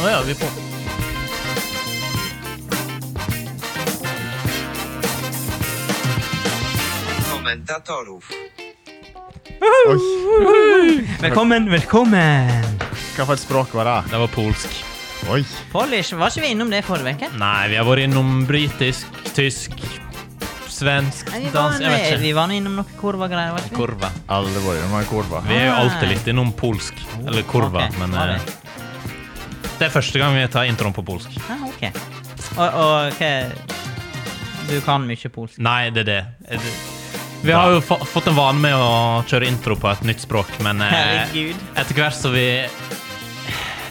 Nå er vi på. komentatorów. Oi, Velkommen, velkommen! hva for et språk var det? Det var polsk. Oi. Polish, var ikke vi innom det forrige uke? Nei, vi har vært innom britisk, tysk, svensk, Nei, Vi var, dansk Jeg vet vi ikke. var nå innom noen korvagreier. var ikke vi? Korva. Alle våre med kurva. Vi er jo alltid litt innom polsk. Eller korva, Ah. Ok, men var eh, det? det er første gang vi tar introen på polsk. Ah, ok. Og, og hva Du kan mye polsk. Nei, det er det. Eh, det. Vi har jo fa fått en vane med å kjøre intro på et nytt språk, men eh, Herregud. etter hvert som vi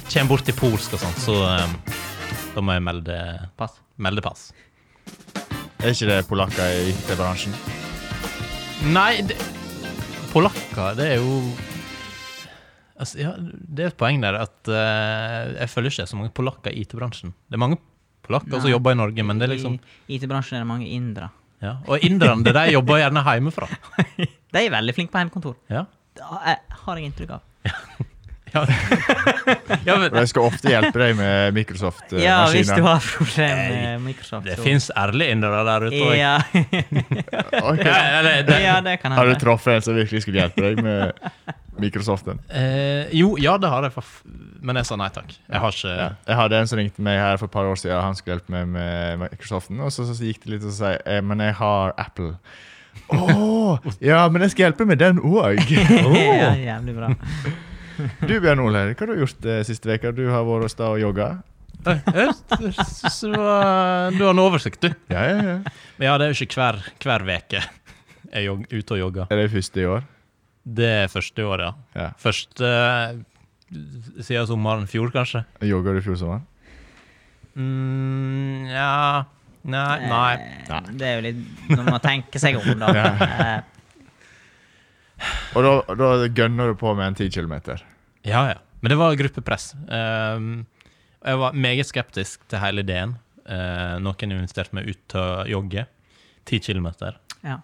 kommer bort til polsk og sånt, så eh, da må jeg melde, Pass. melde pass. Er ikke det polakker i IT-bransjen? Nei, det, polakker, det er jo Altså, ja, det er et poeng der at eh, jeg føler ikke det er så mange polakker i IT-bransjen. Det er mange polakker som Nei. jobber i Norge, men det er liksom I IT-bransjen er det mange indere. ja. Og inderne, det er de jobber gjerne hjemmefra. De er veldig flinke på hjemmekontor. Ja. Det har- Har jeg inntrykk av. Ja. ja, men For jeg skal ofte hjelpe deg med eh, Microsoft-maskiner. Ja, hvis du har problemer med Microsoft. det så- fins ærlige indere der ute. og- Ja. Ja, eller, det, ja, det kan Har du hende. truffet en som virkelig skulle hjelpe deg med Microsoften? Eh, jo, ja, det har jeg, forf- men jeg sa nei takk. Jeg har ikke Ja. Jeg hadde en som ringte meg her for et par år siden, han skulle hjelpe meg med Microsoften. Og så, så gikk det litt og sa eh, men jeg har Apple. Å! ja, men jeg skal hjelpe med den òg. Ja, jævlig bra. Du Bjørn Ole, hva har du gjort eh, siste veka? Du har vært hos deg og jogga? Oi, jeg synes det var- Du har en oversikt, du. Ja, ja, ja. Men ja, det er jo ikke hver, hver veke jeg jog, ute og jogger. Er det første i år? Det er første året, ja. Ja. Første eh, siden sommeren fjor, kanskje. Jogga du i fjor sommer? Mm, ja Nei. nei. Eh, Det er jo litt Når man tenker seg om, da. Eh, Og da, da gønner du på med en 10 km. Ja, ja. Men det var gruppepress. Um, og jeg var meget skeptisk til hele ideen. Eh, noen inviterte meg ut til å jogge. Ti kilometer. Ja,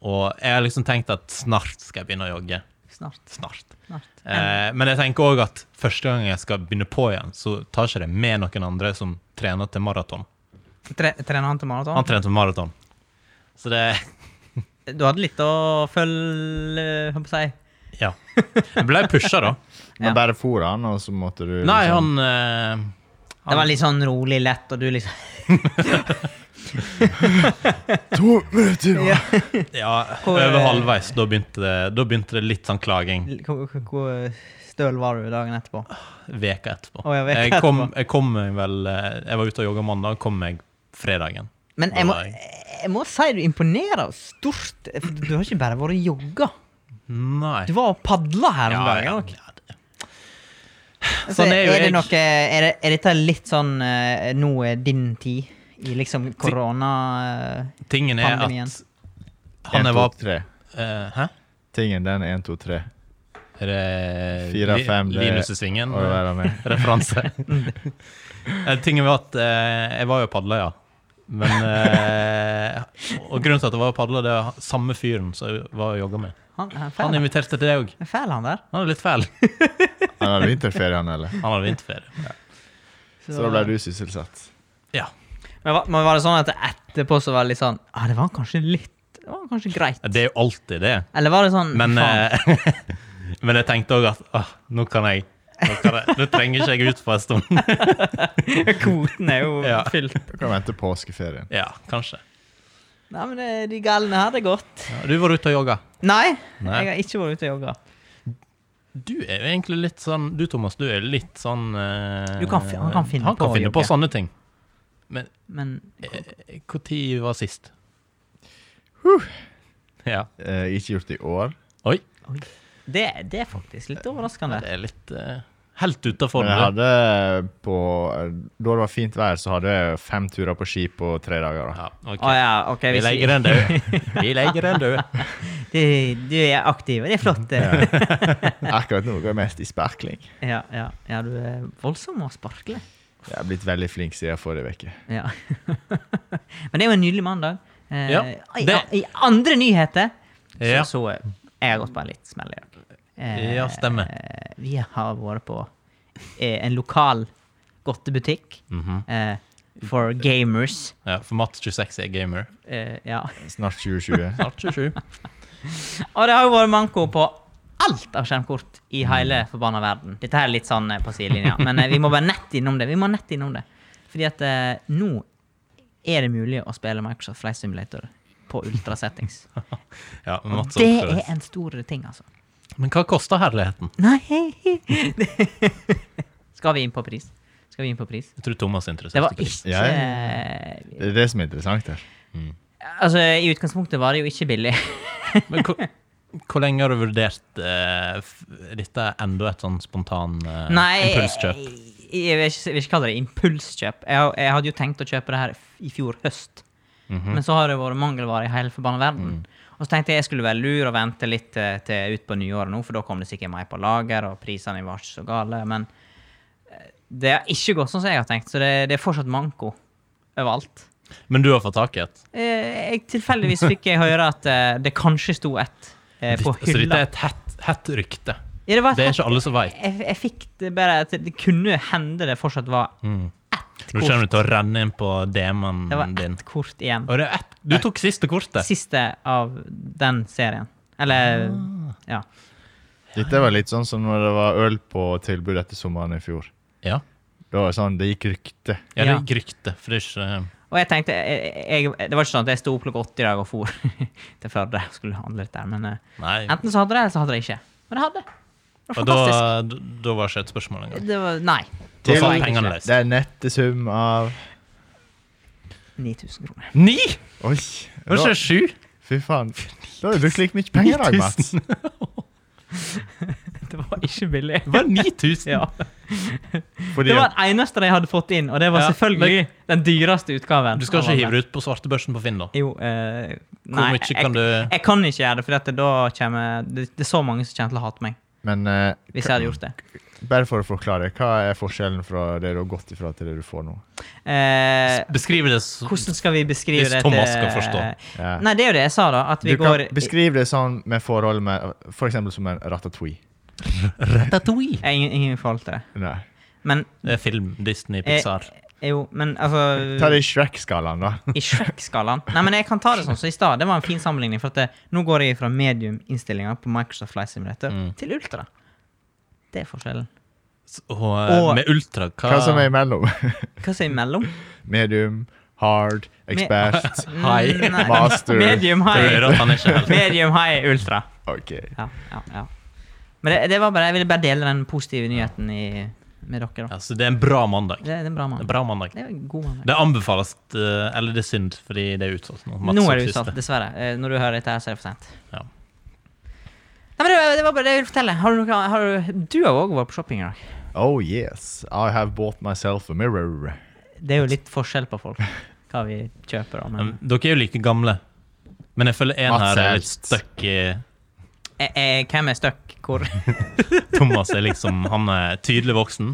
Og jeg har liksom tenkt at snart skal jeg begynne å jogge. snart. Snart. snart. Eh, Eh, men jeg tenker òg at første gang jeg skal begynne på igjen, så tar ikke det med noen andre som trener til maraton. tre, trener han til maraton? Han trente til maraton. Så det Du hadde litt å følge Hva skal jeg si? Ja. Jeg ble pusha, da. Men Ja. bare for han, og så måtte du Nei, han, liksom- eh, Det var litt sånn rolig, lett, og du liksom To minutter! Ja. Ja, Hvor- eh, over halvveis. Da begynte, det, da begynte det litt sånn klaging Hvor hvor støl var du dagen etterpå? veka etterpå. Å, ja, veka jeg, kom, etterpå. jeg kom meg vel eh, Jeg var ute og jogga mandag, kom meg fredagen. Men jeg må, Nei. jeg må si du imponerer stort. for Du har ikke bare vært og jogga. Nei. Du var og padla her om dagen. ja, også. ja, det- Altså, Sånn er, er jo det jeg. noe, er, det, er dette litt sånn eh, Nå er din tid i liksom korona... eh, Tingen er Pandemien. at han En, jeg to, var tre. eh, Hæ? Tingen, den er 1, 2, 3. Er det Fire, Li- fem, det- Linus i svingen? Å være med. Referanse. Eh, Tingen var at eh, jeg var jo og padla, ja. Men eh, Og grunnen til at jeg var og padla, det er samme fyren som jeg var og jogga med. Han, han, Han er fæl, inviterte til deg òg. han. er fæl, han der. Han er litt feil. Han hadde vinterferie, han, eller? Han hadde vinterferie. Så da ble du sysselsatt. Ja. Men, var, men var det sånn at etterpå så var det litt sånn Ja, det var kanskje litt Det var kanskje greit. Det er jo alltid det. Eller var det sånn Men, faen, eh, men jeg tenkte òg at åh, nå kan jeg nå, kan jeg, nå trenger ikke jeg ut for en stund. Kvoten er jo eh, Ja. fylt. Du kan vente påskeferien. Ja, kanskje. Nei, men det- de galne her, det er godt. Ja, du var ute og jogga. Nei, Nei. jeg har ikke vært ute og jogga. Du er jo egentlig litt sånn Du, Thomas, du er litt sånn eh, Du kan fi- han kan finne han kan på å finne på jogge. sånne ting. Men Når Eh, var sist? Ja. Eh, ikke gjort i år. Oi. det, det er faktisk litt overraskende. Det er litt eh, Helt utafor. Men jeg hadde eh, på eh, Da det var fint vær, så hadde jeg fem turer på ski på tre dager. da. Ja, ok. Å ja, OK. Vi Hvis legger den død. Vi legger den død. du, du er aktiv, og det er flott. det. Akkurat nå går jeg mest i sparkling. Ja, ja, ja, du er voldsom og sparkle. Jeg er blitt veldig flink siden forrige uke. Ja. Men det er jo en nydelig mandag. Eh, Ja, i, det- I andre nyheter så, Ja. så eh, jeg har gått på en litt smell i dag. Eh, Ja, stemmer. eh, Vi har vært på eh, en lokal godtebutikk eh, for gamers. Mhm. Ja, for Matt26 er gamer. Eh, ja. Snart 2020. Snart 27. Og det har jo vært manko på alt av skjermkort i hele forbanna verden. Dette her er litt sånn eh, på sidelinja, men eh, vi må bare nett innom det. Vi må nett innom det. Fordi at eh, nå er det mulig å spille Microsoft Flight Simulator på ultra settings. Ja, men Mats Det oppfører er seg. en stor ting, altså. Men hva koster herligheten? Nei Skal vi inn på pris? Skal vi inn på pris? Jeg tror Thomas er interessert. Det var i pris. ikke eh, Ja, Det er det som er interessant her. Altså, i utgangspunktet var det jo ikke billig. Men hvor, hvor lenge har du vurdert eh, f- Dette er enda et sånn spontan eh, Nei, impulskjøp. Jeg, jeg, vil ikke, jeg vil ikke kalle det impulskjøp. Jeg, jeg hadde jo tenkt å kjøpe det her f- i fjor høst, Mhm. men så har det vært mangelvare i hele forbanna verden. Mm. Og så tenkte jeg jeg skulle være lur og vente litt eh, til ut på nyåret nå, for da kom det sikkert meg på lager, og prisene var ikke så gale. Men eh, det har ikke gått sånn som jeg har tenkt, så det, det er fortsatt manko overalt. Men du har fått tak i et? Eh, Jeg tilfeldigvis fikk jeg høre at eh, det kanskje sto et eh, på Ditt- Så altså, dette er hylla. et hett, hett rykte. Ja, var et Det er hett- ikke alle som veit. jeg, jeg fikk det bare at det kunne hende det fortsatt var Mm. Nå kommer du til å renne inn på Det var DM-en din. ett kort igjen. Og det er ett. Du tok siste kortet. Siste av den serien. Eller Ah. Ja. Dette var litt sånn som når det var øl på tilbud etter sommeren i fjor. Ja, Det var det sånn, det gikk rykte. ja det Ja. gikk rykte. For det er ikke eh, Og jeg tenkte jeg, jeg, Det var ikke sånn at jeg sto opp klokka åtte i dag og for til Førde og skulle handle litt der, men eh, Nei. enten så hadde det, eller så hadde det ikke. Men det hadde det. Det Og var da, fantastisk. da var ikke et spørsmål engang. Det var Nei. Da sa Til- pengene løs. Det er nette sum av 9000 kroner. Ni? Oi! Var ikke Da, det sju? fy faen. Da har du brukt like mye penger i dag, Mats. Det var ikke billig. Det var 9000. Ja. Fordi Det var at, den eneste de hadde fått inn, og det var Ja, selvfølgelig den dyreste utgaven. Du skal ikke hive det ut på svartebørsen på Finn, da? Jo, eh, Hvor nei, mye jeg, kan du jeg kan ikke gjøre det, for at da kommer det, det er så mange som kommer til å hate meg. men eh, Hvis jeg hadde gjort det. bare for å forklare, hva er forskjellen fra det du har gått ifra til det du får nå? Eh, Beskrive det s- hvordan skal vi beskrive Hvis det Thomas skal forstå. Ja. Nei, det er jo det jeg sa, da. At vi Du kan går beskrive det sånn med forhold med For eksempel som en ratatouille. Ratatouille. Jeg har ingen, ingen forhold til det. Nei. Men Det er film. Disney, eh, Pixar. jo, men Ta altså det i Shrek-skalaen, da. I Shrek-skalaen. Nei, men jeg kan ta det sånn som i stad. Det var en fin sammenligning. For at det, nå går jeg fra medium-innstillinga på Microsoft Flight Simulator Mm. til ultra. Det er forskjellen. S- Og, eh, og- med ultra, hva, Hva som er imellom? Hva sier mellom? Medium, hard, expert High. Nei, Master. Medium Du high. hører at han er ikke helt Medium high ultra. Ok. Ja, ja, ja. Men det, det var bare, jeg ville bare dele den positive nyheten i, med dere. da. Ja, så det er en bra mandag. Det, det er en bra Det er mann. en bra mandag. Det er en god mann. Det anbefales eh, Eller det er synd, fordi det er utsolgt nå. Mats Nå er det opp utsatt, siste. dessverre. Eh, Når du hører dette, her, så er det for sent. Ja. Nei, men det, var- det var bare det jeg ville fortelle. Har du, noe, har du, du har òg vært på shopping i dag. Oh yes, I have bought myself a mirror. Det er jo litt forskjell på folk, hva vi kjøper. da, Um, Men Dere er jo like gamle. Men jeg føler en Mats her er er litt eldst. stuck i Eh, eh, hvem er stuck hvor? Thomas er liksom Han er tydelig voksen.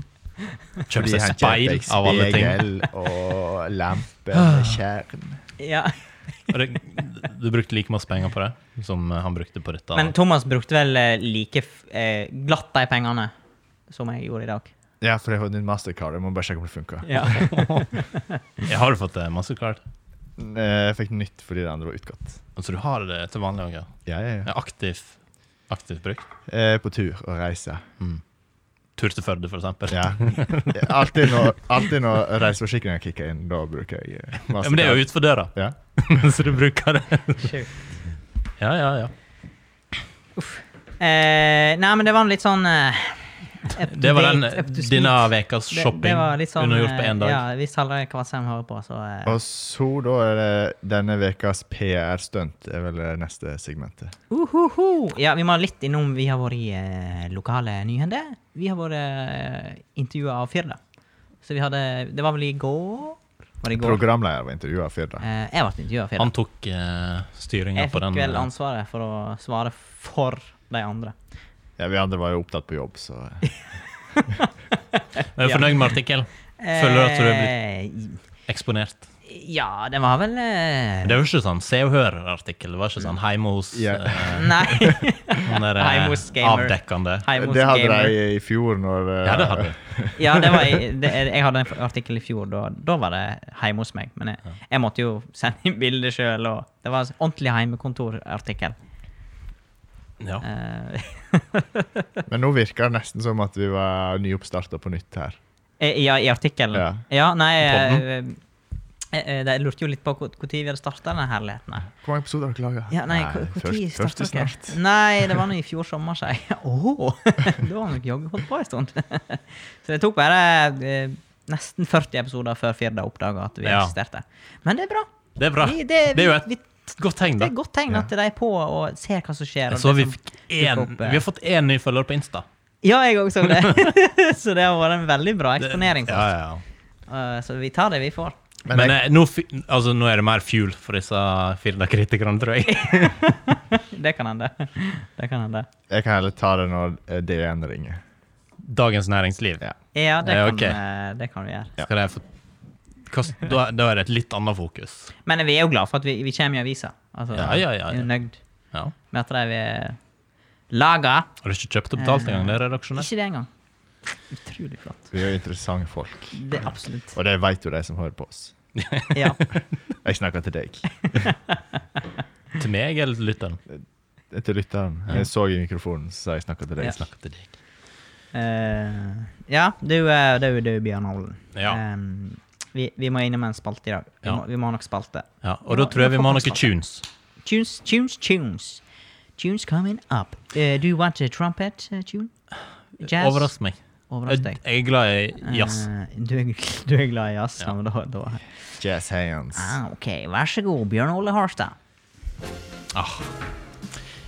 Kjøper seg speil av alle ting. Spegel og lampe med skjerm. ja. Og det, du brukte like masse penger på det som eh, han brukte på dette. Men Thomas brukte vel eh, like f- eh, glatt de pengene som jeg gjorde i dag. Ja, for jeg har et nytt mastercard. Jeg må bare sjekke om det funker. Ja. jeg har jo fått eh, mastercard. Eh, Jeg fikk nytt fordi det andre var utgått. Altså, du har det til vanlig òg? Ja. Ja, ja, ja. Ja, Aktiv, aktivt bruk. Eh, På tur og reise. Tur til Førde, for eksempel. Ja. Alltid når, alltid når reiseforsikringen kicker inn, da bruker jeg eh, mastercard. Ja, men det er jo utfor døra, Ja. så du bruker det. Sjukt. Ja, ja, ja. Eh, nei, men det var en litt sånn eh, up to Det var den date, up to speed. denne ukas Det- shopping. det var litt sånn, Undergjort på én dag. eh, Ja, hvis alle Kvassheim hører på, så eh, Og så da er det denne ukas PR-stunt er vel det neste segmentet. uhuhu. Ja, vi må litt innom Vi har vært i eh, lokale nyhender. Vi har vært eh, intervjua av Firda. Så vi hadde Det var vel i går? Var det i går? Programleder var intervjua av Firda. Eh, jeg ble intervjua av Firda. Han tok uh, styringa Jeg på den. fikk vel eh, ansvaret for å svare for de andre. Ja, vi andre var jo opptatt på jobb, så Er du fornøyd med artikkelen? Føler du at du er blitt eksponert? Eh, Ja, den var vel eh, Det var ikke sånn Se og Hør-artikkel. Det var ikke sånn hjemme hos Ja. eh, Nei. sånn der, eh, Hjemme hos gamer. avdekkende. Heimos Det hadde Gamer. de i fjor når eh, Ja, det hadde vi. Ja, det var, i- det, jeg hadde en artikkel i fjor. Da, da var det hjemme hos meg. Men jeg, jeg måtte jo sende inn bilde sjøl. Det var en ordentlig heimekontorartikkel. Ja. Eh, Men nå virker det nesten som at vi var nyoppstarta på nytt her. eh, ja, i artikkelen. Ja. Ja. nei eh, eh, eh, Jeg lurte jo litt på når vi hadde starta denne herligheten. her. Hvor mange episoder har dere laga? Ja, nei, hvor- hvor tid først, først starta i dere? snart. Nei, det var nå i fjor sommer, sier jeg. Åh, da har nok jaggu holdt på en stund. Så det tok bare eh, nesten 40 episoder før Firda oppdaga at vi Ja. eksisterte. Men det er bra. Det er bra. Vi- Det er jo vi- et godt tegn, Det da. er et godt tegn at de er på og ser hva som skjer. og Så vi det som- fikk én dukker opp, eh. Vi har fått én ny følger på Insta. Ja, jeg òg så det. så det har vært en veldig bra Det- eksponering. for Ja, oss. ja, ja. Eh, så vi tar det vi får. Men, eh, nå, fi- altså, nå er det mer fuel for disse Firda-kritikerne, tror jeg. Det kan hende. Det kan hende. eh, Jeg kan heller ta det når eh, DN ringer. Dagens Næringsliv. Ja. Ja, det, Ja, kan, ok. eh, det kan vi gjøre. Skal jeg få Hva- da, da er det et litt annet fokus. Men vi er jo glad for at vi, vi kommer i avisa. Altså, Ja, ja, ja, vi er jo ja. nøyd Ja. med at de er laga. Har du ikke kjøpt og betalt engang? Det er redaksjonelt. Ikke det engang. Utrolig flott. Vi er jo interessante folk, Det er absolutt. og det vet jo de som hører på oss. Ja. Jeg snakker til deg. Til meg eller til lytteren? Til lytteren. Jeg så i mikrofonen, så jeg snakker til deg. Jeg snakker til deg. Eh, ja, du, eh, det er jo- det er jo Bjørn Holden. Ja. Em, vi, vi må innom en spalte i dag. Vi, Ja. må, vi må ha nok spalte. Ja, og da Ja, tror jeg vi vi må ha får noen tunes. Tunes, tunes, tunes. Tunes coming up. Eh, do you want a trumpet eh, tune? Jazz? Overrask meg. Jeg Overrask deg. jeg er glad i jazz. Eh, du, er, du er glad i jazz? Ja. men Da, da. Jazz hands. Ah, ok, vær så god, Bjørn Ole Harstad. Ah.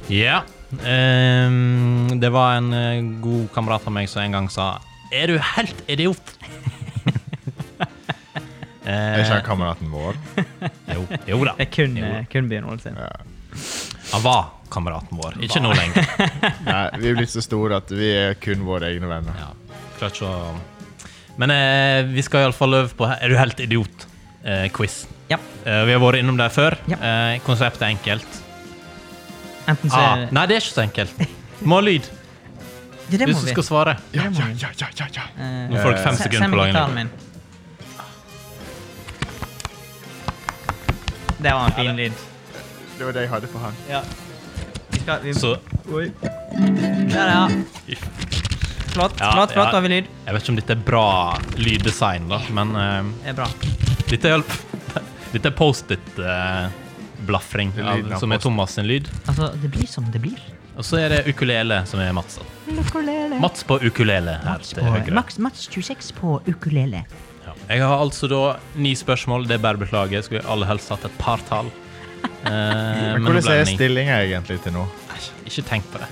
Ja. ehm, det var en eh, god kamerat av meg som en gang sa Er du helt idiot? Er ikke eh, han kameraten vår? jo, jo da. Det er kun, Jo da. eh, kun Bjørn Ole sin. Ja. Han var kameraten vår. Ikke nå lenger. Nei, vi er blitt så store at vi er kun våre egne venner. Ja, klart så. Men eh, vi skal iallfall øve på Er du helt idiot? Eh, quiz. Ja. Eh, vi har vært innom det før. Ja. Eh, konseptet er enkelt. Enten så Ah, nei, det er ikke så enkelt. Må ha lyd. Ja, det Du må som vi. skal svare. Ja, ja, ja, ja, ja, ja. Eh, Nå får dere fem se- sekunder send på meg gitaren lagen. min. Det var en fin lyd. Det var det jeg hadde på han. Ja. Vi skal, vi, Så Oi. Der, ja. Flott, Ja, flott, flott ja. over lyd. Jeg vet ikke om dette er bra lyddesign, da, men eh, Det er bra. dette er, al- dette er eh, post-it-blafring, Det er lyden av som er post-it. Thomas sin lyd. Altså, det blir som det blir. Og så er det ukulele, som er Mats. da. Mats på ukulele her Mats, til høyre. Max, Mats 26 på ukulele. Ja. Jeg har altså da ni spørsmål. Det er bare å beklage. Jeg skulle aller helst hatt et par tall. Eh, men Men det hvordan ble er ni. stillinga egentlig til nå? Nei, Ikke tenk på det.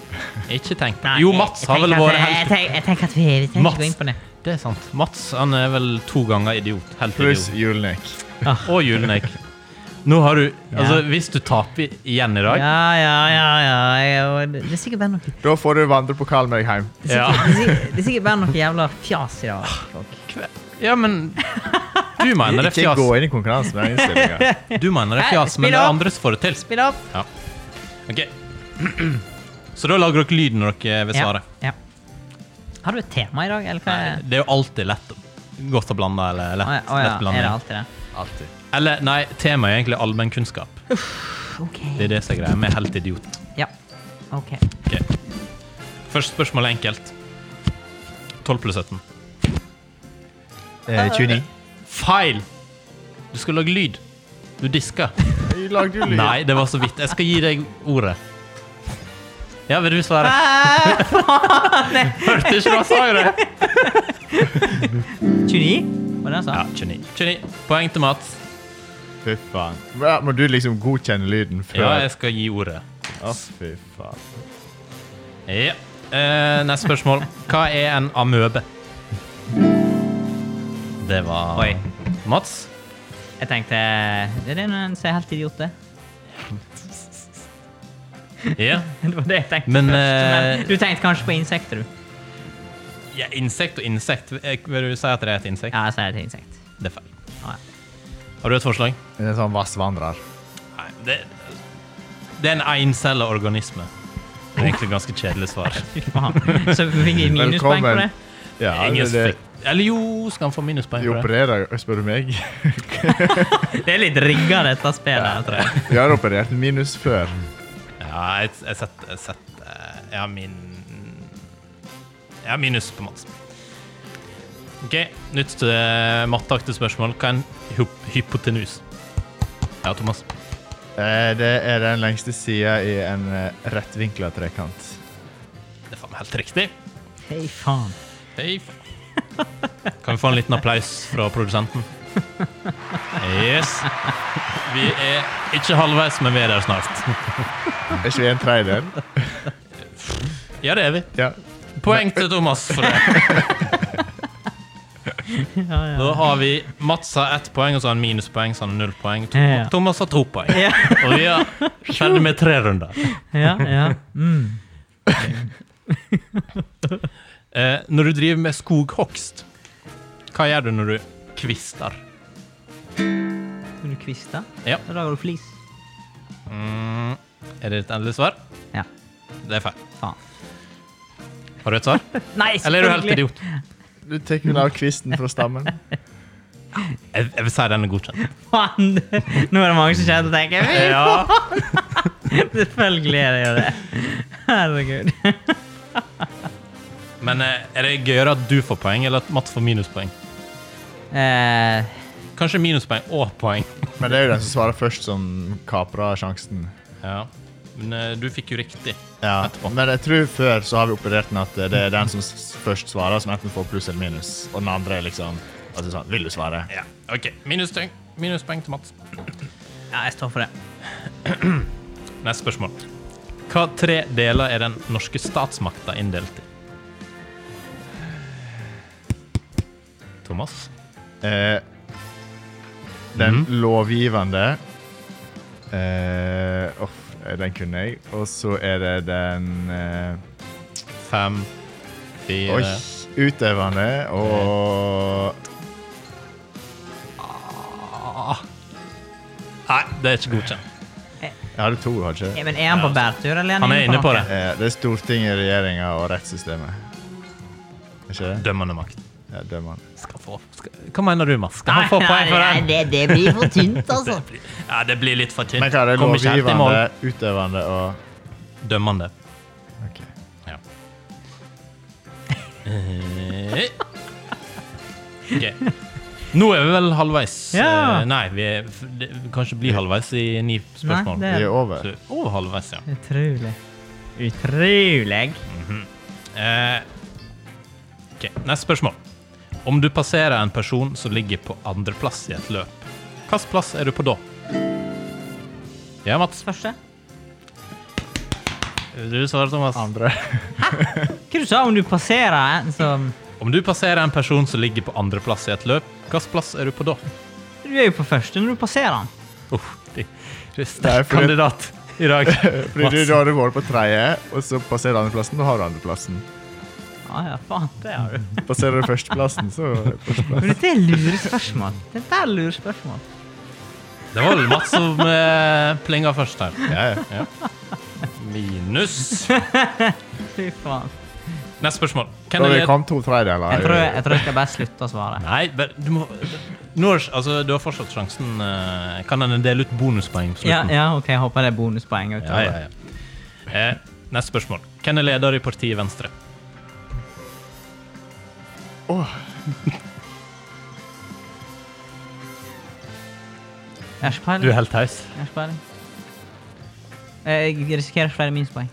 Ikke tenk på det. Nei, Jo, jeg- Mats jeg har vel tenker at- vært Jeg helt tenker, jeg tenker at vi, vi trenger Mats. ikke gå inn på det. Det er sant. Mats han er vel to ganger idiot. Helt Pluss idiot. Ah, Julnik. Og Julenek. Nå har du Altså, hvis du taper igjen i dag Ja, ja, ja, ja. ja, og Det det er sikkert bare noe det Da får du vandrepokal med deg hjem. er Ja. sikkert, det er sikkert- det er sikkert bare noe jævla fjas i dag. folk. Ja, men Du mener det er Ikke gå fjas. inn i konkurransen med den innstillinga. Du mener det er Nei, fjas, men spill det er opp. andre som får det til. Spill opp. Ja. OK. Så da lager dere lyd når dere vil svare. Ja. Har du et tema i dag, eller hva? Nei, er- Det er jo alltid lett godt å blande, eller lett, Å ja, å ja, lett er det blanding. alltid det? Eller nei, temaet er egentlig allmennkunnskap. Ok. Det er det som er greia. Vi er helt idiot. Ja. Ok. Ok. Første spørsmål er enkelt. 12 pluss 17. Eh, 29. Feil! Du skal lage lyd. Du disker. Jeg lagde jo lyd. Nei, det var så vidt. Jeg skal gi deg ordet. Ja, vil du svare? Ah! Hørte ikke hva jeg sa i det. 29? Var det jeg sa? Ja, 29. 29. Poeng til Mats. Fy faen. Ja, må du liksom godkjenne lyden før? Ja, jeg skal gi ordet. Å, fy faen. Ja. Eh, neste spørsmål. Hva er en amøbe? Det var Oi. Mats. Jeg tenkte Det er det når en ser helt idiot det. Ja. Det var det jeg tenkte Men, først. eh, Men du tenkte kanskje på insekter, du. ja. Insekt og insekt. Eh, Vil du si at det er et insekt? Ja, jeg sier det til insekt. Det er feil. Ah, ja. Har du et forslag? En sånn vassvandrer. Nei, det, det er en encella organisme. Det er egentlig et ganske kjedelig svar. Fy faen. Så fikk jeg minuspoeng på Velkommen. det. Ja, Ingen det, det, fikk- Eller jo, skal han få minuspoeng de for det? opererer jo, spør du Det meg. er litt rigga, dette spillet. her, tror jeg. Vi har operert minus før. Ja, jeg, jeg setter jeg, setter- jeg har min Jeg har minus på Mats. OK, nytt eh, matteaktig spørsmål. Hva er en hyp hypotenus? Ja, Thomas. Eh, Det er den lengste sida i en eh, rettvinkla trekant. Det er faen meg helt riktig. Fy faen. Hei. faen. Kan vi få en liten applaus fra produsenten? Yes. Vi er ikke halvveis, men vi er der snart. Er ikke vi en tredjedel? Ja, det er vi. Ja. Poeng til Thomas for det. Ja, ja. Da har vi Mats har ett poeng, og så har han minuspoeng, så han har null poeng. Tom- Ja. Thomas har to poeng. Ja, Og vi er ferdig med tre runder. ja. ja. Mm. Eh, når du driver med skoghogst, hva gjør du når du kvister? Når du kvister, Ja. da lager du flis. Mm, er det ditt endelige svar? Ja. Det er feil. Faen. Har du et svar? Nei, Eller er du helt selvfølgelig. idiot? Du tar vel av kvisten fra stammen. Jeg, jeg vil si den er godkjent. Faen, det- nå er det mange som kjenner og tenker «Fy Ja. faen!» Selvfølgelig er det jo det. Herregud. Men eh, er det gøyere at du får poeng, eller at Mats får minuspoeng? Eh, Kanskje minuspoeng og poeng. Men det er jo den som svarer først, som kaprer sjansen. Ja. Men eh, du fikk jo riktig. Ja, Etterpå. Men jeg tror før så har vi operert med at det er den som s- først svarer, som enten får pluss eller minus. Og den andre er liksom altså sånn, Vil du svare? Ja. OK. Minuspoeng. Minuspoeng til Mats. ja, jeg står for det. Neste spørsmål. Hva tre deler er den norske statsmakta inndelt i? Thomas? Eh, den lovgivende eh, off, eh, Den kunne jeg. Og så er det den eh, Fem, fire Oi! Utøvende og Nei, det er ikke godkjent. Jeg hadde to, har jeg Ja, ikke? men er han på bærtur, eller er han, Han er inne på det. Eh, det er Stortinget, regjeringa og rettssystemet. Er ikke det? Dømmende makt. Ja, dømmerne. Skal få skal, Hva mener du, Mats? Skal han få poeng for den? det, det blir for tynt, altså. Ja, det blir litt for tynt. Men hva er det? Kommer ikke helt i mål. Lovgivende, utøvende og Dømmende. Ok. Ja. Eh, ok. Nå er vi vel halvveis. Ja. Eh, Nei, vi er f- det, vi kanskje blir halvveis i ni spørsmål. Nei, Vi er over. Så over halvveis, ja. Utrolig. Utrolig. Eh, ok, Neste spørsmål. Om du passerer en person som ligger på andreplass i et løp, hvilken plass er du på da? Ja, Mats. Første? Du svarer, Thomas. Andre. Hva du sa om du passerer en som Om du passerer en person som ligger på andreplass i et løp, hvilken plass er du på da? Du er jo på første når du passerer han. Uff, de- du er Nei, sterk fordi- kandidat i dag. Fordi du, Mats. da har du vært på tredje, og så passerer du andreplassen, da har du andreplassen. Ja, ja, faen, det har du. Passerer du førsteplassen, så er det førsteplass. Men dette er lurespørsmål. Dette er lurespørsmål. Det var vel Mats som eh, plinga først her. Ja, ja. Ja. Minus. Fy faen. Neste spørsmål. Hvem Da er vi led- kom to tredjedeler. Jeg tror jeg, jeg tror jeg skal bare slutte å svare. Nei, bare- du må Nå er- altså, Du har fortsatt sjansen. eh, Kan en dele ut bonuspoeng på Ja, slutten? ja, ok, jeg håper det er bonuspoeng. utover. ja, ja, ja. Eh, neste spørsmål. Hvem er leder i partiet Venstre? Jeg har ikke peiling. er helt taus. Jeg har ikke peiling. Jeg risikerer flere minuspoeng.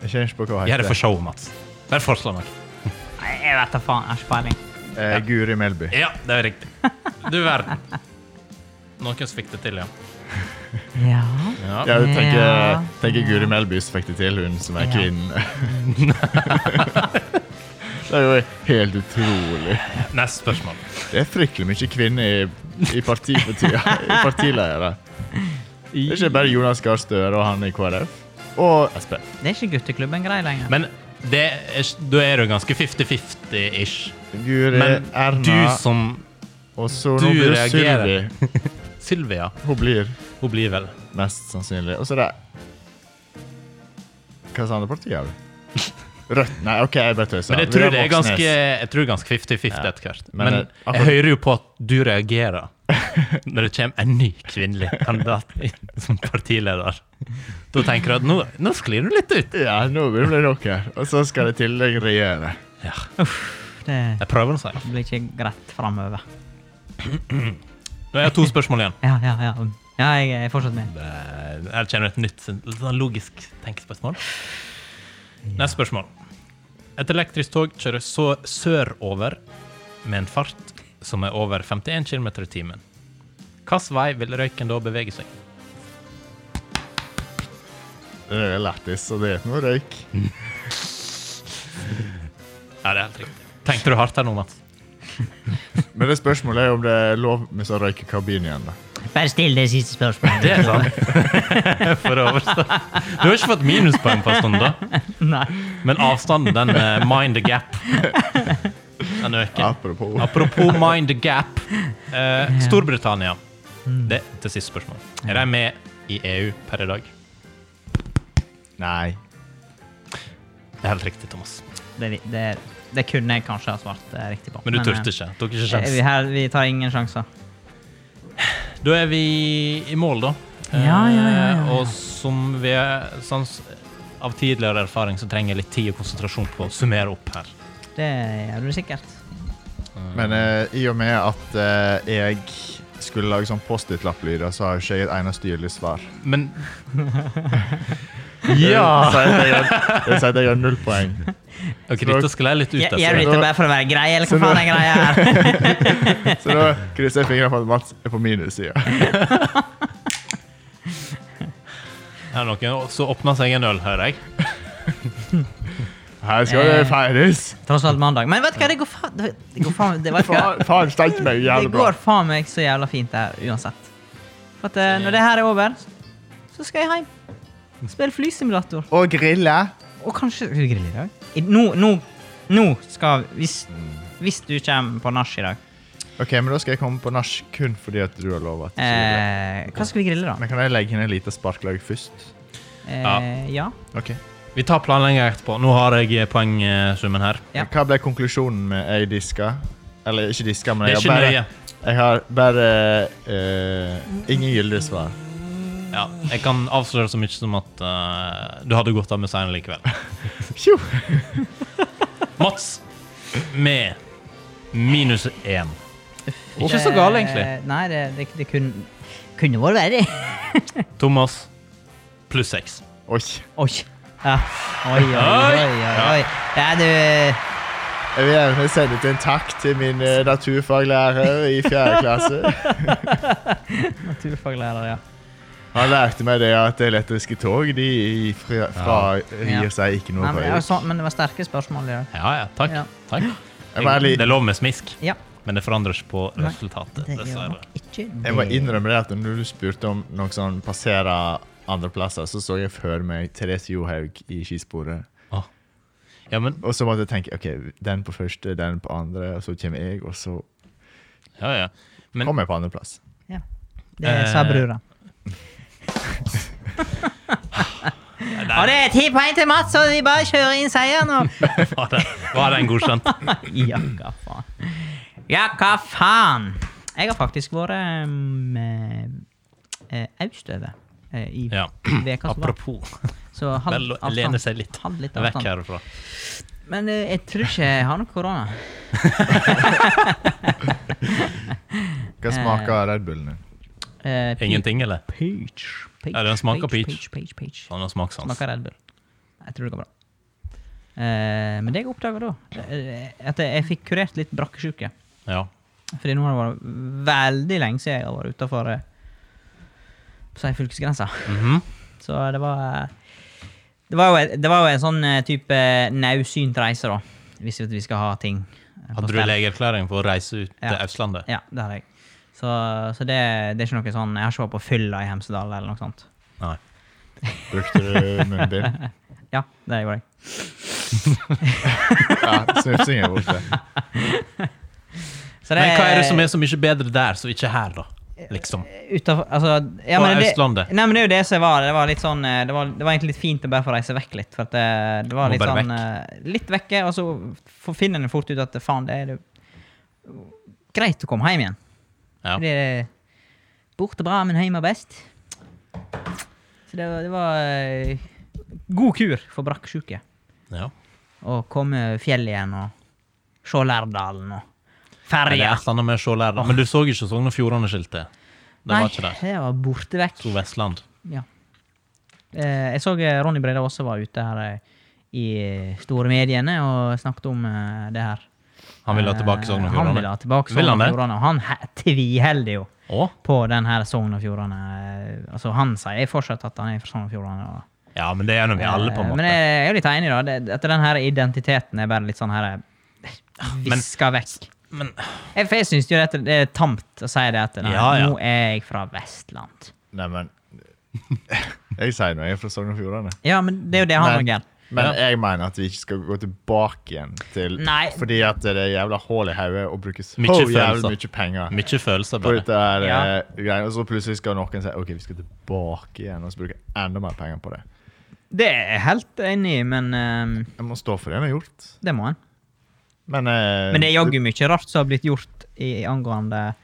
Jeg kjenner ikke på hva Gjør det for heter. show, Mats. Bare forslå noe. Nei, jeg vet da faen. Jeg har ikke peiling. Eh, Guri Melby. Ja, det er riktig. Du verden. Noen som fikk det til, ja. Ja. ja. Ja, du tenker, Ja. tenker Guri Melby som fikk det til, hun som er Ja. kvinnen. det er jo helt utrolig. Neste spørsmål. Det er fryktelig mye kvinner i, i, parti for tida, i partileiere. Det er ikke bare Jonas Gahr Støre og han i KrF. Og Sp. Det er ikke gutteklubben grei lenger. Men det er, da er du ganske 50-50-ish. Guri, Men Erna du som Og så Du nå blir det Sylvi. reagerer. Sylvia. Hun blir Hun blir vel mest sannsynlig. Og så er det Hva sa andre partiet? er det? Rødt? Nei, OK, jeg bare tøyser. Men jeg tror det er ganske Jeg tror det er ganske 50-50 etter hvert. Men, Men eh, akkurat- jeg hører jo på at du reagerer når det kommer en ny kvinnelig kandidat i- som partileder. Da tenker jeg at nå, nå sklir du litt ut. Ja, nå blir det nok her. Og så skal det i tillegg regjere. Ja, Det jeg prøver å si. blir ikke greit framover. Nå har jeg to spørsmål igjen. Ja, ja, ja. Ja, jeg er fortsatt med. Eh, Her kommer et nytt litt sånn logisk tenkespørsmål. Neste spørsmål. Et elektrisk tog kjører så sørover med en fart som er over 51 km i timen. Hvilken vei vil røyken da bevege seg? Det er lættis, og det er ikke noe røyk. Ja, det er helt riktig. Tenkte du hardt her nå, Mats? Men det spørsmålet er om det er lov med sånn røykekabin igjen. da. Bare still det siste spørsmålet. Det er sant. For å overstå. Du har ikke fått minuspoeng på en stund, da. Nei. Men avstanden, den eh, mind the gap, den øker. Apropos. Apropos mind the gap. Eh, Storbritannia. Hmm. Det er til siste spørsmål. Er de med i EU per i dag? Nei. Det er helt riktig, Thomas. Det, vi- det, det kunne jeg kanskje ha svart eh, riktig på. Men du eh, turte ikke. Tok ikke eh, Vi, sjans. her, vi tar ingen sjanser. Da er vi i mål, da. Eh, Ja, ja, ja, ja, ja. Og som vi er sans av tidligere erfaring, så trenger jeg litt tid og konsentrasjon på å summere opp her. Det gjør du sikkert. Men eh, i og med at eh, jeg skulle lage sånn Post-It-lapplyder, så har jo ikke jeg et eneste gyldig svar. Men Det sier at jeg har- Det sier at jeg har null poeng. Ok, dette sklei litt ut. Gjør Altså. gjør du dette bare for å være grei, eller hva Så nå- faen er greia her? Så da krysser jeg fingrene for at Mats er på minussida. Her er noen, og så åpner seg en øl, hører jeg. Her skal det feires! Tross alt mandag. Men vet du hva, det går faen det- Det går faen det, vet du hva? Faen, faen steike meg det jævlig bra. går faen meg så jævla fint, det her, uansett. For at eh, når det her er over, så skal jeg hjem. Spille flysimulator. Og grille. Og kanskje Skal vi grille i dag? I- Nå, nå, nå skal Hvis, hvis du kommer på nach i dag, Ok, men Da skal jeg komme på nach kun fordi at du har lova. Men eh, hva skal vi grille da? kan jeg legge inn en liten sparklag først? Eh, ja. Ok. Vi tar planlegginga etterpå. Nå har jeg poengsummen her. Ja. Hva ble konklusjonen med jeg diska? Eller ikke diska, men Det jeg er ikke har bare, nøye. jeg har bare eh, ingen gyldige svar. Ja, jeg kan avsløre så mye som at eh, du hadde godt av med seieren likevel. Phew. Mats med minus én. Ikke Det- så gal, egentlig. Eh, Nei, det, det, det kunne, kunne vært verre. Thomas pluss seks. Oi. Oi. Ja. Oi, oi, oi, oi, oi. Ja, du Jeg vil gjerne sende ut en takk til min eh, naturfaglærer i fjerde klasse. Naturfaglærer, ja. Han lærte meg det at elektriske tog de i fra, Ja. fragir seg ikke noe Nei, men, ja, røyk. sånn, men det var sterke spørsmål i dag. Ja, ja. Takk. Ja. takk. Jeg var litt- Det er lov med smisk, Ja, men det forandrer ikke på Nei, resultatet, det gjør dessverre. nok ikke Jeg må det. innrømme det at når du spurte om noen som passerer andre plasser, så så jeg for meg Therese Johaug i skisporet. Ja, men Og så måtte jeg tenke ok, den på første, den på andre, og så kommer jeg, og så Ja, ja. Men kommer jeg på andreplass. Ja. Det sa Eh, brura. nei, Og det er ti poeng til Mats, så vi bare kjører inn seieren nå. var det- var den godkjent? ja, hva faen. Ja, hva faen. Jeg har faktisk vært um, eh, austøve eh, i Ja. veka som var. Apropos. Så hold Vel, å lene seg litt Hold litt vekk avstand. herfra. Men eh, jeg tror ikke jeg har noe korona. Hva smaker Red Bullen din? Eh, pi- Ingenting, eller? Peach. peach Ja, den smaker Peach, peach, peach. Han har smakssans. Smaker Red Bull. Jeg tror det går bra. Eh, men det jeg oppdaga da, eh, at jeg fikk kurert litt brakkesjuke. Ja. Fordi nå har det vært veldig lenge siden jeg har vært utafor eh, på å si fylkesgrensa. Mhm. Så det var eh, Det var jo, et, det var jo en sånn eh, type naudsynt reise, da. Hvis vi skal ha ting. eh, på Hadde du stell. legeerklæring for å reise ut til Ja. Østlandet? Ja, det har jeg. Så, så det, det er ikke noe sånn Jeg har ikke vært på fylla i Hemsedal eller noe sånt. Nei. Brukte du munnbind? Ja, det gjorde jeg. Ja, snufsing er borte. Så Men hva er det som er så mye bedre der, som ikke her, da? Liksom. Utenfor, altså, ja, På men det- Østlandet. Nei, men det er jo det som var. Det var, litt sånn, eh, det var, det var egentlig litt fint å bare få reise vekk litt. For at det, det Må var litt bare sånn eh, Litt vekke, og så får- finner en fort ut at faen, det er jo greit å komme hjem igjen. Ja. Det er borte bra, men hjemme best. Så det, var- det var eh, god kur for brakksjuke. ja. Å komme fjellet igjen og se Lærdalen og Nei, Det er ferja. et eller annet med å se lærere. Men du så ikke Sogn og Fjordane-skiltet? Det var ikke der. det var borte vekk. Så Vestland. Ja. Eh, jeg så eh, Ronny Brede også var ute her eh, i store mediene og snakket om eh, det her. Han ville ha tilbake Sogn og Eh, Han ville Fjordane. ha tilbake Vil Sogn han og det? Fjordane, og han he- tviholder jo Å? på den her Sogn og Fjordane. eh, Altså, han sier fortsatt at han er fra Sogn og Fjordane. Og, Ja, men det er nå vi alle, på en Eh, Men måte. jeg jeg er jo litt enig, da. Det- At den her identiteten er bare litt sånn her eh, Men- Viska vekk. Men eh, Jeg, for jeg syns jo at det er tamt å si det at nei, Ja, ja. nå er jeg fra Vestland. Neimen Jeg sier nå jeg er fra Sogn og Fjordane. Ja, men det er jo det han Men- og Gerd. Men Ja. jeg mener at vi ikke skal gå tilbake igjen til Nei. Fordi at det er jævla hull i hodet å bruke så Mye følelser. jævlig mye penger mye følelser, på bare. dette her Ja. eh, greiene. Og så plutselig skal noen si OK, vi skal tilbake igjen og så bruke enda mer penger på det. Det er jeg helt enig i, men ehm, Jeg må stå for det vi har gjort. det må en. Men, eh, Men det er jaggu mye rart som har blitt gjort i, i angående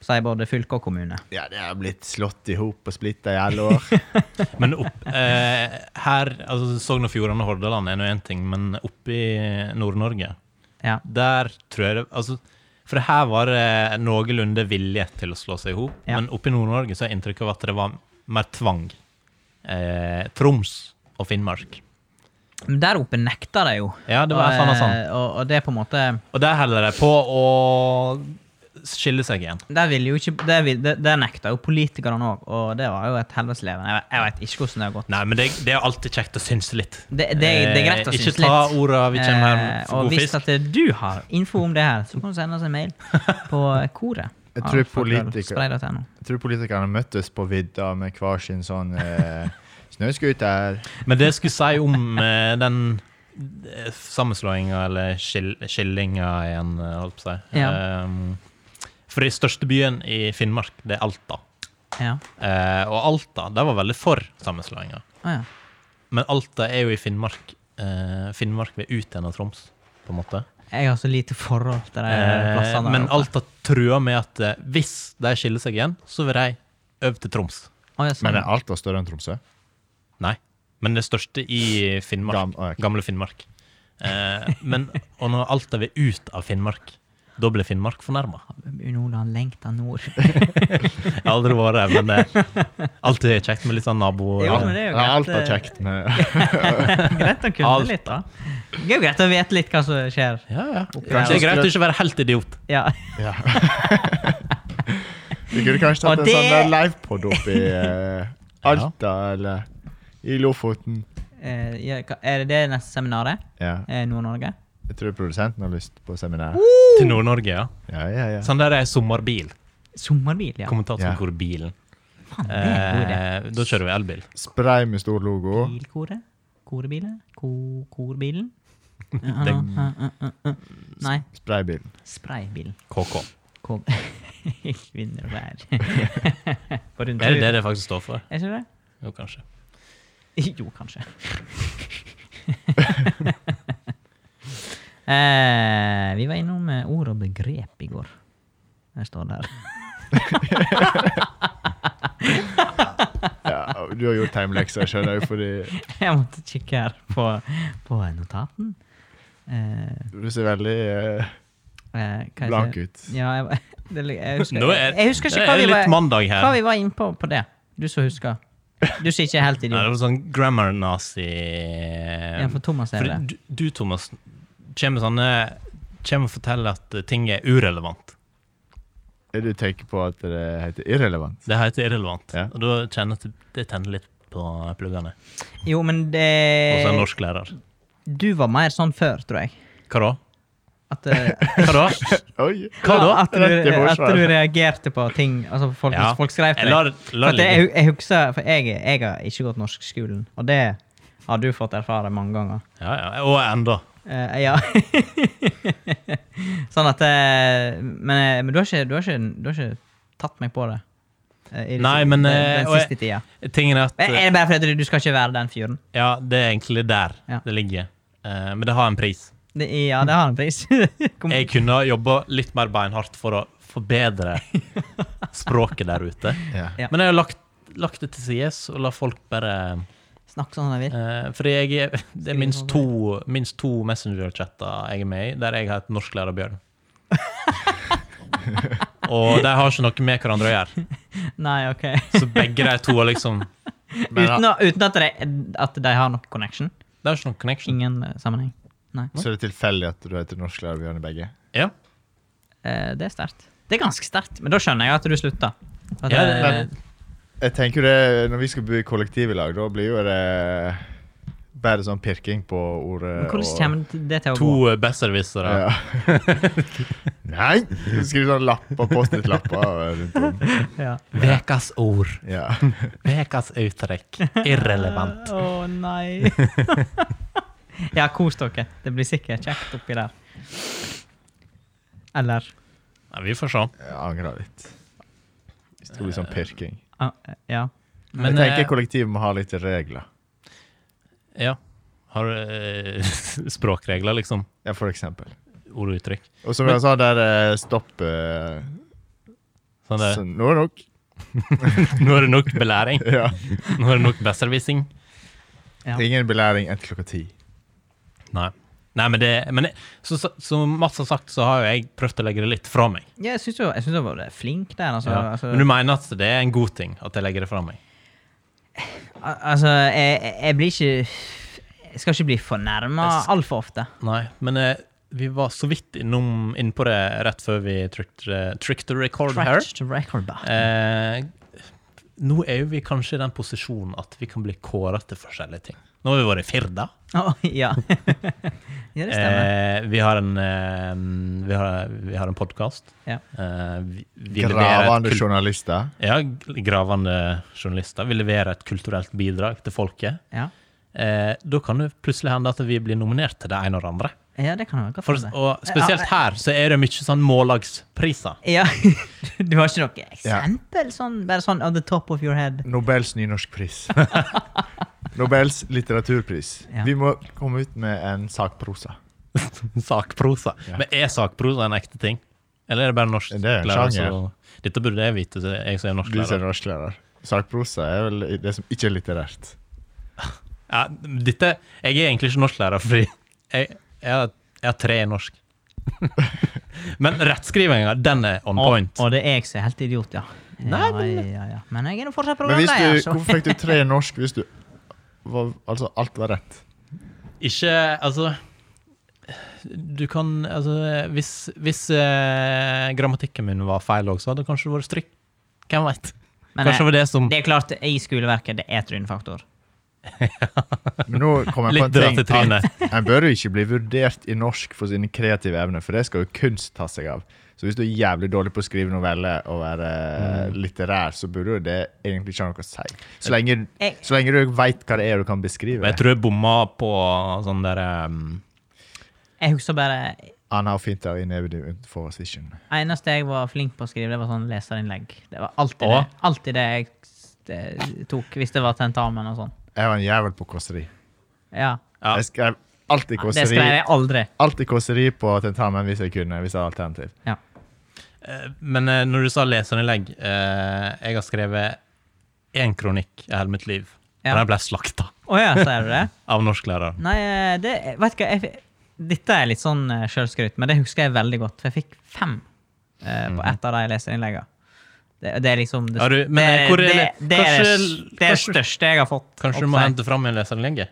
si, både fylke og kommune. Ja, det er blitt slått i hop og splitta i alle år. Men opp, eh, her, altså Sogn og Fjordane og Hordaland er nå én ting, men oppe i Nord-Norge, Ja. der tror jeg det altså, For her var det noenlunde vilje til å slå seg i hop, Ja. men oppe i Nord-Norge så har jeg inntrykk av at det var mer tvang. Eh, Troms og Finnmark. Men der oppe nekta de jo. Ja, det var og, faen meg sånn. eh, og, og det er på en måte Og der holder de på å skille seg igjen. Der ville jo ikke Der, vil, der, der nekta jo politikerne òg, og det var jo et helvetesleven. Jeg, vet- jeg veit ikke hvordan det har gått. Nei, men det, det er alltid kjekt å synse litt. Det, det, det er greit å Eh, synes Ikke ta orda vi kommer her Eh, for og god hvis fisk. at du har info om det her, så kan du sende oss en mail på koret. Jeg tror politiker- politikere Jeg tror politikerne møttes på vidda med hver sin sånn eh, snøscooter. Men det jeg skulle si om eh, den eh, sammenslåinga, eller skil, skillinga igjen, eh, holdt på å si Ja. Ehm, For den største byen i Finnmark, det er Alta. Ja. Eh, og Alta de var veldig for sammenslåinga. Å ja. Men Alta er jo i Finnmark. Eh, Finnmark vil ut igjen av Troms, på en måte. Jeg har så lite forhold til de Eh, plassene. der men oppe. Alta truer med at eh, hvis de skiller seg igjen, så vil de over til Troms. Å, ja, sånn. Men er Alta større enn Tromsø? Nei. Men det største i Finnmark. Gam- å, ok. Gamle Finnmark. Eh, men, og når Alta vil ut av Finnmark, da blir Finnmark fornærma. Nordland lengta nord. Jeg har aldri vært der, men eh, alltid er kjekt med litt sånn nabo... Jo, men det er jo greit, Alta eh, kjekt med greit å kunne Alt. litt, da. Det er jo greit å vite litt hva som skjer. Ja, ja. Kanskje Det er greit å skulle- ikke være helt idiot. Ja. Ja. Vi kunne kanskje Og tatt en det- sånn der livepod opp i eh, Alta eller i Lofoten. Eh, ja, hva- Er det det neste seminaret? Ja. Eh, Nord-Norge? Jeg tror produsenten har lyst på seminar. Til Nord-Norge, ja. Ja, ja, ja. Sånn der er sommerbil. Sommerbil, ja. Ja. Kommentatorkorbilen. Faen, det er en god sånn idé. Eh, da kjører vi elbil. Spray med stor logo. Bilkoret? Korebilen? Ko korbilen? Ja, ja, ja, ja, ja. Nei, Spraybilen. spraybilen. KK. Kom. Kvinner På rundt Er det det det faktisk står for? Er ikke det? Jo, kanskje. Jo, kanskje. eh, vi var innom eh, ord og begrep i går. Jeg står der. Ja, du har gjort hjemmeleksa, skjønner jeg, fordi Jeg måtte kikke her på, på notaten. Eh, du ser veldig eh, eh, hva jeg Blank sier- ut. Ja, jeg, det, lig- jeg, husker, Nå er- jeg husker det ikke hva er vi, litt var, mandag her. hva vi var innpå på det. Du som husker. Du som ikke er helt Nei, det idiot. var sånn grammar-nazi Ja, Ja, for Thomas er det. Du, du, Thomas, kommer sånne Kommer og forteller at ting er urelevant. Du tenker på at det heter irrelevant. Det heter irrelevant. Ja. Og da kjenner jeg at det tenner litt på pluggene. Jo, men Eh, Og så er jeg det norsklærer. Du var mer sånn før, tror jeg. Hva da? At eh, Hva da? Oi! Hva da? At Rett du, i at forsvar. du reagerte på ting altså folk, Ja. folk skrev Jeg til lar, deg. For, lar at det jeg, ligge. jeg husker, for jeg, jeg har ikke gått norskskolen, og det har du fått erfare mange ganger. Ja, ja. Og enda. Eh, ja. sånn at eh, Men, eh, men du, har ikke, du, har ikke, du har ikke tatt meg på det? eh, i det Nei, siste- men, den, eh, den og jeg- siste tida. Tingen er at Er er det bare fordi du skal ikke være den fyren? Ja, det er egentlig der Ja. det ligger. Eh, men det har en pris. Det, ja, det har en pris. Kom, Jeg kunne jobba litt mer beinhardt for å forbedre språket der ute. Ja. Ja. Men jeg har lagt, lagt det til sides og la folk bare snakk sånn du vil. eh, Fordi jeg er, det er minst to, minst to Messenger-chatter jeg er med i, der jeg heter Norsklærer Bjørn. og de har ikke noe med hverandre å gjøre. Nei, OK. Så begge de to har liksom Men, uten, å, uten at, de, at de har noen connection. Det er ikke noen connection. Ingen eh, sammenheng. Nei. så er det tilfeldig at du heter norsklærer Bjørn i begge. Ja. Eh, det er sterkt. Det er ganske sterkt, men da skjønner jeg at du slutta. At, Ja, eh, men- Jeg tenker jo det, Når vi skal bo i kollektiv i lag, da blir jo det bare sånn pirking på men ordet. hvordan og- kommer det til å gå? To besserwissere. Ja. Nei! Skriv sånn lapper, Post-It-lapper rundt om. Ja. Vekas ord. Ja. Vekas uttrekk. Irrelevant. Å nei. ja, kos dere. Det blir sikkert kjekt oppi der. Eller Ja, vi får se. Jeg angrer litt. Hvis det blir sånn pirking. ah, Ja. Men jeg tenker eh, kollektiv må ha litt regler. ja. Har eh, språkregler, liksom. Ja, for eksempel. Ord og uttrykk. Og som jeg sa, der eh, stopp eh, Sånn der, så Nå er det nok. Nå er det nok belæring. Ja. Nå er det nok besserwissing. Ja. Ingen belæring etter klokka ti. Nei. Nei, men det men jeg, så, så, Som Mats har sagt, så har jo jeg prøvd å legge det litt fra meg. ja jeg syns du, jeg synes du var flink der. Altså, Ja. altså, Men du mener at det er en god ting at jeg legger det fra meg? al- altså jeg, jeg- jeg blir ikke Jeg skal ikke bli fornærma Jeg sk- altfor ofte. Nei, men eh, vi var så vidt innom innpå det rett før vi trykte trykte record her. Scratch the record back. Eh, nå er jo vi kanskje i den posisjonen at vi kan bli kåra til forskjellige ting. Nå har vi vært i Firda. Å, ja. ja, det stemmer. Eh, vi har en, eh, vi har, vi har en podkast. Ja. Eh, vi, vi leverer et Gravende kul- journalister. Ja, g- gravende journalister. Vi leverer et kulturelt bidrag til folket. Ja. Eh, da kan det plutselig hende at vi blir nominert til det ene og det andre. ja, det kan jeg godt For, hende. og spesielt her så er det mye sånn mållagspriser. Ja, Du har ikke noe eksempel? Sånn, bare sånn on the top of your head? Nobels nynorskpris. Nobels litteraturpris. Ja. Vi må komme ut med en sakprosa. sakprosa. Ja. Men er sakprosa en ekte ting? Eller er det bare norsk? Det er en lærer sjanger. som- Dette burde jeg vite, så jeg som er Du som er norsklærer. norsklærer. Sakprosa er vel det som ikke er litterært. Ja, dette, jeg er egentlig ikke norsklærer, fordi jeg, jeg, har, jeg har tre i norsk. Men rettskrivinga, den er on point. Og, og det er jeg som er helt idiot, ja. Nei, ja, men- ja, ja. men jeg er altså? nå fortsatt Men hvis programleder. du, så- hvorfor fikk du tre i norsk hvis du var, Altså, alt var rett? Ikke Altså Du kan Altså, hvis, hvis eh, grammatikken min var feil også, hadde det kanskje vært stryk. Hvem veit? Men eh, Kanskje det var det som Det er klart, i skoleverket det er trynefaktor. Men nå kom jeg på Litt en dra til ting. trynet. at En bør jo ikke bli vurdert i norsk for sine kreative evner, for det skal jo kunst ta seg av. Så hvis du er jævlig dårlig på å skrive noveller og være eh, litterær, så burde jo det egentlig ikke ha noe å si. Så lenge, Mm. Jeg- så lenge du veit hva det er du kan beskrive. Jeg tror jeg bomma på sånn der um, Jeg husker bare Han har fint av i neven for session. Eneste jeg var flink på å skrive, det var sånn leserinnlegg. Det var alltid Å? det, alltid det jeg s- det, tok hvis det var tentamen og sånn. Jeg var en jævel på kåseri. Ja. Ja. Jeg skrev alltid Det skrev kåseri, jeg aldri. alltid kåseri på tentamen hvis jeg kunne. hvis jeg hadde alternativ. Ja. Eh, Men eh, når du sa leserinnlegg eh, Jeg har skrevet én kronikk i hele mitt liv. Ja. Og den ble slakta Å ja, sier du det? av norsklæreren. Nei, eh, det Vet du hva, jeg, fi- dette er litt sånn eh, sjølskryt, men det husker jeg veldig godt. For jeg fikk fem eh, på ett av de leserinnleggene. Det, det er liksom det, Ja, Mhm. du, men, det, eh, hvor er det, det- det er det, kanskje- det, er det kanskje- største jeg har fått. Kanskje du må hente fram en leserinnlegg? Eh,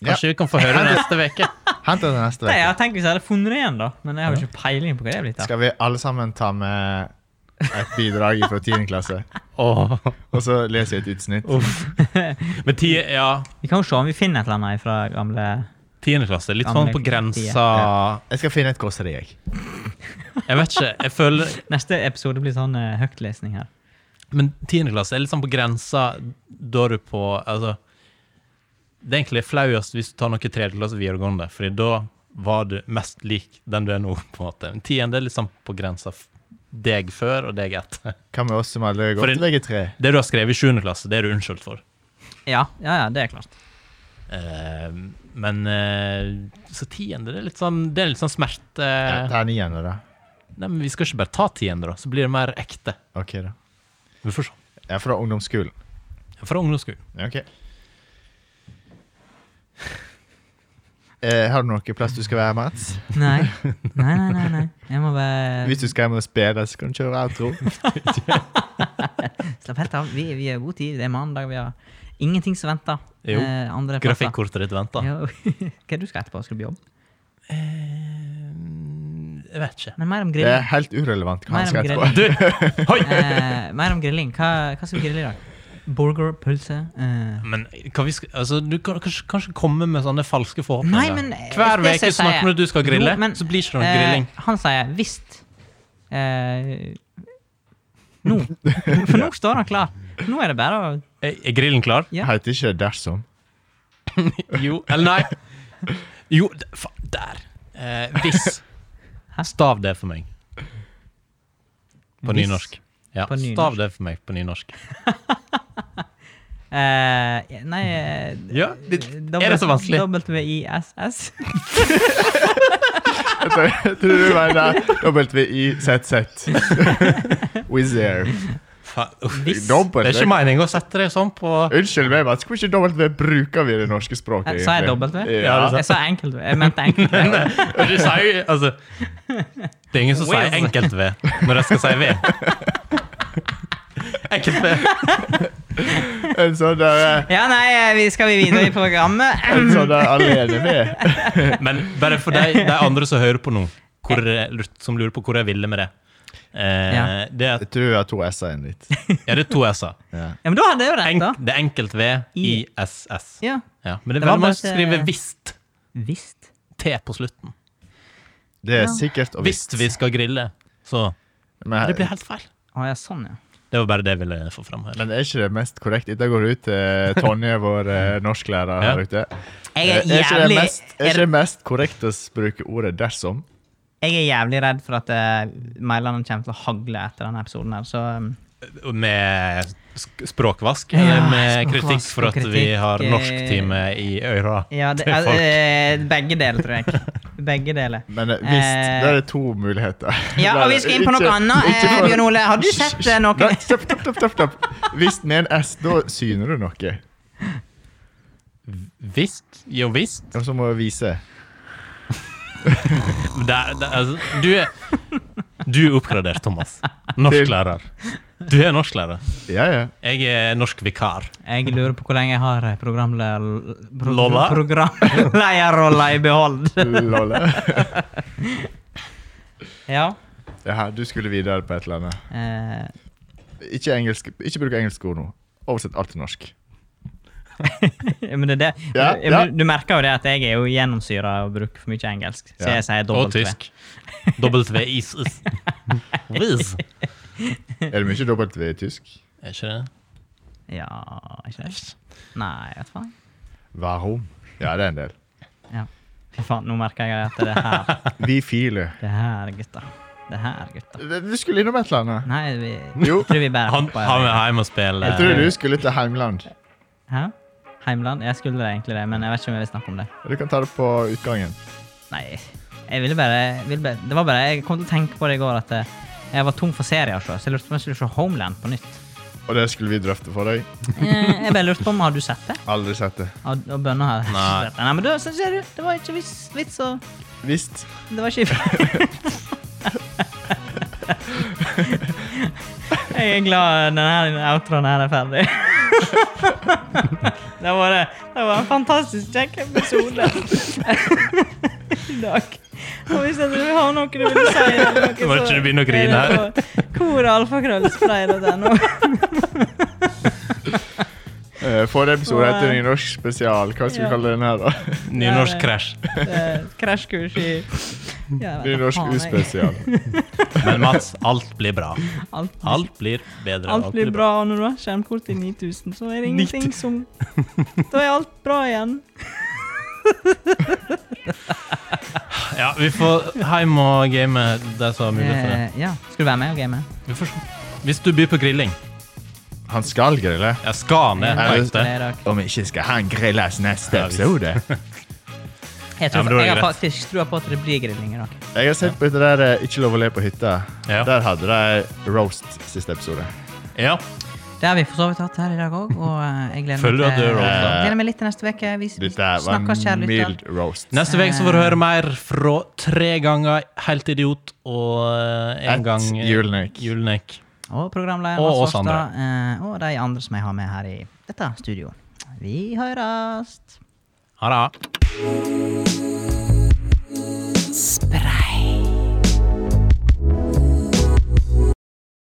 Ja. Kanskje vi kan få høre det neste uke? Hent den neste Nei, jeg uke. har tenkt hvis jeg hadde funnet igjen, da. Men jeg har jo ikke peiling på hva det er blitt av. Skal vi alle sammen ta med et bidrag fra 10. klasse? Åh, Og så leser jeg et utsnitt. uff. Men ti, ja, Vi kan jo se om vi finner et eller annet fra gamle tiendeklasse. Litt sånn på grensa Jeg skal finne et kåseri, jeg. Jeg vet ikke. jeg føler Neste episode blir sånn eh, høytlesning her. Men tiendeklasse er litt sånn på grensa da du på Altså Det er egentlig flauest hvis du tar noe tredjeklasse videregående, Fordi da var du mest lik den du er nå. på en måte. En tiende er liksom på grensa f- deg før og deg etter. Hva med oss som alle har For gått en- VG3? Det du har skrevet i 7. klasse, det er du unnskyldt for. Ja, ja, ja, det er klart. Eh, men eh, så tiende, det er litt sånn, det er litt sånn smerte Ja, ta niende, da. Nei, men Vi skal ikke bare ta tiende, da. Så blir det mer ekte. Ok, da. Vi får se. Jeg er fra ungdomsskolen. Fra ungdomsskolen. Ok. Eh, har du noe plass du skal være, Mats? Nei. Nei, nei, nei. nei. Jeg må bare Hvis du skal hjem og spille, så kan du kjøre outro. slappe helt av. Vi, vi er i god tid. Det er mandag. Vi har ingenting som venter. Jo. Eh, andre plasser. Grafikkortet ditt venter. Jo. Hva er det du skal etterpå? Skal du på jobb? Eh, Jeg vet ikke. Men mer om Det er grilling. helt urelevant hva Mer han skal om etterpå. Du! Hoi! Eh, mer om grilling. Hva, hva skal vi grille i dag? Burger, pølse eh. Men hva vi skal, altså, du kan kanskje, kanskje komme med sånne falske Nei, forhåpninger. men eh, Hver uke det som jeg sier- snakker du om at du skal grille, Jo, men, så blir det ikke noe eh, grilling. Han sier visst. Eh, nå. For nå står han klar. Nå er det bare å Er, er grillen klar? Ja. Heter ikke det dersom? Jo. Eller nei. Jo, d- faen, der. Eh, hvis. Stav det for meg. På Hvis. nynorsk. Ja, På nynorsk. stav det for meg på nynorsk. eh, Nei eh, Ja, det, er det så vanskelig? WISS. Jeg tror- jeg tror du mener WIZZ. Wizz Air. Faen, uff. Hvis. Det Dobbelt. er ikke meningen å sette det sånn på Unnskyld meg, Mats. Hvorfor ikke W bruker vi i det norske språket? Eh, Sa jeg egentlig? W? Ja, Ja. det Jeg sa enkelt V. Jeg mente enkelt V. Du sier jo Altså Det er ingen som sier Whiz. enkelt-V når de skal si V. Enkelt-V. En sånn der, Ja, nei, eh, vi skal vi videre i programmet? en sånn der alene med. Men bare for de, de andre som hører på nå, hvor, som lurer på hvor jeg ville med det eh, Ja. det, er, Jeg tror jeg har to s-er igjen litt. ja, det er to s-er. Ja. Ja, men da hadde jeg jo rett, Enk, da. det er enkelt-V, ISS. Ja. Ja, men det Det er veldig var bare mange som at, skriver eh, 'visst' Visst. T på slutten. Det er Ja. sikkert og Hvis vi skal grille. Så Men, det blir helt feil. Å ja, sånn, ja. Det var bare det jeg ville få fram her. men er ikke det mest korrekt? Dette går ut til Tonje, vår eh, norsklærer her Ja. ute. Jeg Eh, er ikke det jævlig, mest, er ikke det mest korrekt å s- bruke ordet dersom? jeg er jævlig redd for at uh, mailene kommer til å hagle etter denne episoden her, så um, Med sk- språkvask, Ja, eller med språkvask kritikk for og at vi kritikk, har eh, norsktime i øra. Ja, det, Til folk. eh, begge deler, tror jeg. Begge deler. Men eh, visst, Eh, da er det to muligheter. Ja, og vi skal inn på noe Ikke- annet. ikke Eh, for- Bjørn Ole, har du sett eh, noe? Nei, stopp, stopp, stopp, stopp, stopp. Hvis med en S, da syner du noe. Visst. Jo visst. Og så må du vise. Det, er- det, er- altså, du er Du er oppgradert, Thomas. Norsklærer. Du er norsklærer. Ja, ja. Jeg er norsk vikar. Jeg lurer på hvor lenge jeg har eh, programle- pro- Lolla? programlederrolla i behold. Lolle. Ja. Ja, her, du skulle videre på et eller annet. eh, Ikke, engelsk, ikke bruk engelske ord nå. Oversett alt til norsk. Ja, men det er det. Ja, Ja, ja. men Du merker jo det at jeg er jo gjennomsyra og bruker for mye engelsk. Så Ja. jeg sier Og dobbelt V. tysk. W-is. Vis. Er det mye dobbelt V i tysk? Er ikke det? Ja, ikke det? Nei, vet faen. Varom? Ja, det er en del. Ja. Fy faen, nå merker jeg at det er her. Vi file. Det er her, gutta. Det er her, gutta. Du skulle innom et eller annet. Nei, vi Jo. jeg tror vi bare Han, hopper han over. er hjemme og spiller Jeg tror du skulle til heimland. Hæ? Heimland? Jeg skulle egentlig det, men jeg vet ikke om jeg vil snakke om det. Du kan ta det på utgangen. Nei, jeg ville bare, ville bare Det var bare Jeg kom til å tenke på det i går at eh, jeg var tom for serier, så jeg lurte på om jeg skulle se Homeland på nytt. Og det skulle vi drøfte for deg. Eh, Jeg bare lurte på om har du sett det? Aldri sett det. Og, og bønner her. Nei. Nei, men da så ser du, det var ikke vits, vits å Visst. Det var ikke Jeg er glad denne outroen her er ferdig. Det var, det. Det var en fantastisk kjekk episode i dag. Og hvis at du har noe du vil si eller noe, Må ikke du begynne å grine her? Koralfakrøllspray.no. Eh, Forrige episode heter Nynorsk spesial. Hva skal vi Ja. kalle den her, da? Nynorsk eh, krasj. Krasjkurs i Ja, jeg vet da Nynorsk faen, jeg. uspesial. Men Mats, alt blir bra. Alt blir Alt blir bedre. Alt blir bra, og når du har skjermkort til 9000, så er det ingenting som Da er alt bra igjen. Ja, vi får hjem og game de som har mulighet for det. Eh, ja. Skal du være med og game? Vi får se. Hvis du byr på grilling Han skal grille. Jeg skal han det. Jeg Jeg det- vet det. er rart. Om ikke skal han grilles neste Ja, visst. episode. Jeg, Ja, men tror, da er det jeg har greit. faktisk trua på at det blir grilling i dag. Jeg har sett på det der eh, Ikke lov å le på hytta. Ja. Der hadde de roast siste episode. Ja. Det har vi for så vidt hatt her i dag òg, og eh, jeg gleder Føler du meg at du er til, roast, da? gleder meg litt til neste uke. Vi s- Dette var snakkes, en kjære lytter. mild roast. Neste uke så får du høre mer fra tre ganger Helt idiot og eh, en At gang eh, Julenek. Julenek. Og programleder Og Mats oss andre. Årstad. eh, Og de andre som jeg har med her i dette studio. Vi høres! Ha det.